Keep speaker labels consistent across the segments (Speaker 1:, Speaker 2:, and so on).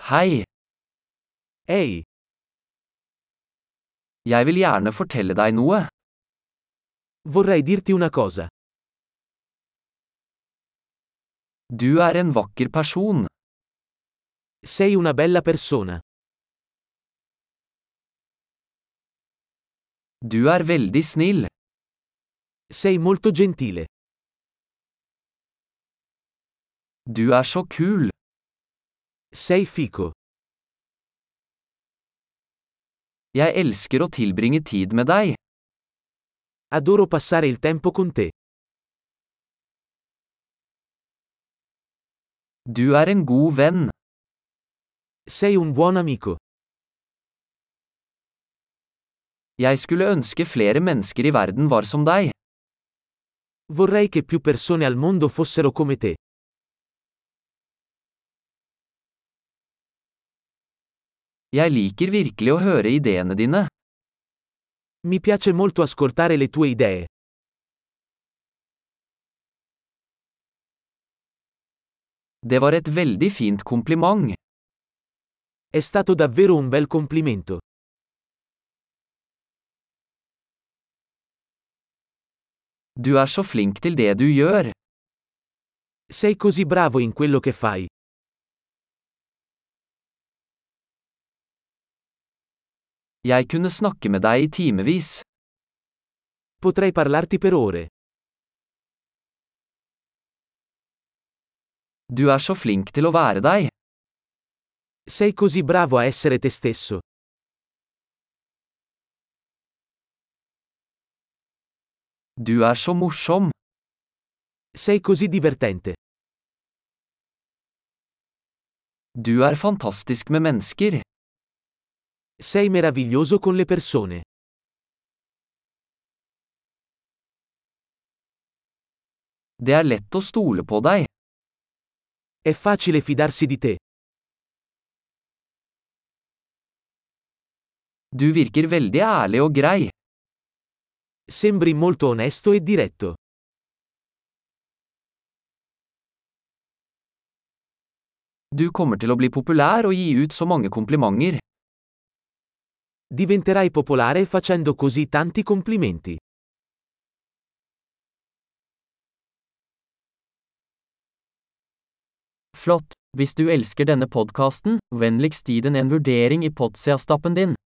Speaker 1: Hei,
Speaker 2: Hei,
Speaker 1: jeg vil gjerne fortelle deg noe.
Speaker 2: vorrei dirti una cosa.
Speaker 1: Du er en vakker person.
Speaker 2: Sei una bella persona.
Speaker 1: Du er veldig snill.
Speaker 2: Sei molto gentile.
Speaker 1: Du er så kul.
Speaker 2: Sei fico.
Speaker 1: Jeg elsker å tilbringe tid med deg.
Speaker 2: Adoro passare il tempo con te.
Speaker 1: Du er en god venn.
Speaker 2: Sei un buon amico.
Speaker 1: Jeg skulle ønske flere mennesker i verden var som deg.
Speaker 2: Vorrei che più persone al mondo fossero come te.
Speaker 1: Jeg liker virkelig å høre ideene dine.
Speaker 2: Mi piace molto ascoltare le tue idee.
Speaker 1: Det var et veldig fint kompliment.
Speaker 2: È stato davvero un bel complimento.
Speaker 1: Du er så flink til det du gjør.
Speaker 2: Sei così bravo in quello che fai.
Speaker 1: Jeg kunne snakke med deg i timevis.
Speaker 2: Potrei parlarti per ore.
Speaker 1: Du er så flink til å være deg.
Speaker 2: Sei così bravo a essere te stesso.
Speaker 1: Du er så morsom.
Speaker 2: Sei così divertente.
Speaker 1: Du er fantastisk med mennesker.
Speaker 2: Sei meraviglioso con le persone.
Speaker 1: Det er lett å stole på deg.
Speaker 2: È facile fidarsi di te.
Speaker 1: Du virker veldig ærlig og grei.
Speaker 2: Sembri molto onesto e diretto.
Speaker 1: Du kommer til å bli populær og gi ut så mange komplimenter.
Speaker 2: Diventerai popolare facendo così tanti complimenti.
Speaker 3: Flott! Hvis du elsker denne podkasten, vennligst gi den en vurdering i Potsia-stappen din.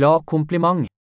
Speaker 3: Glad kompliment!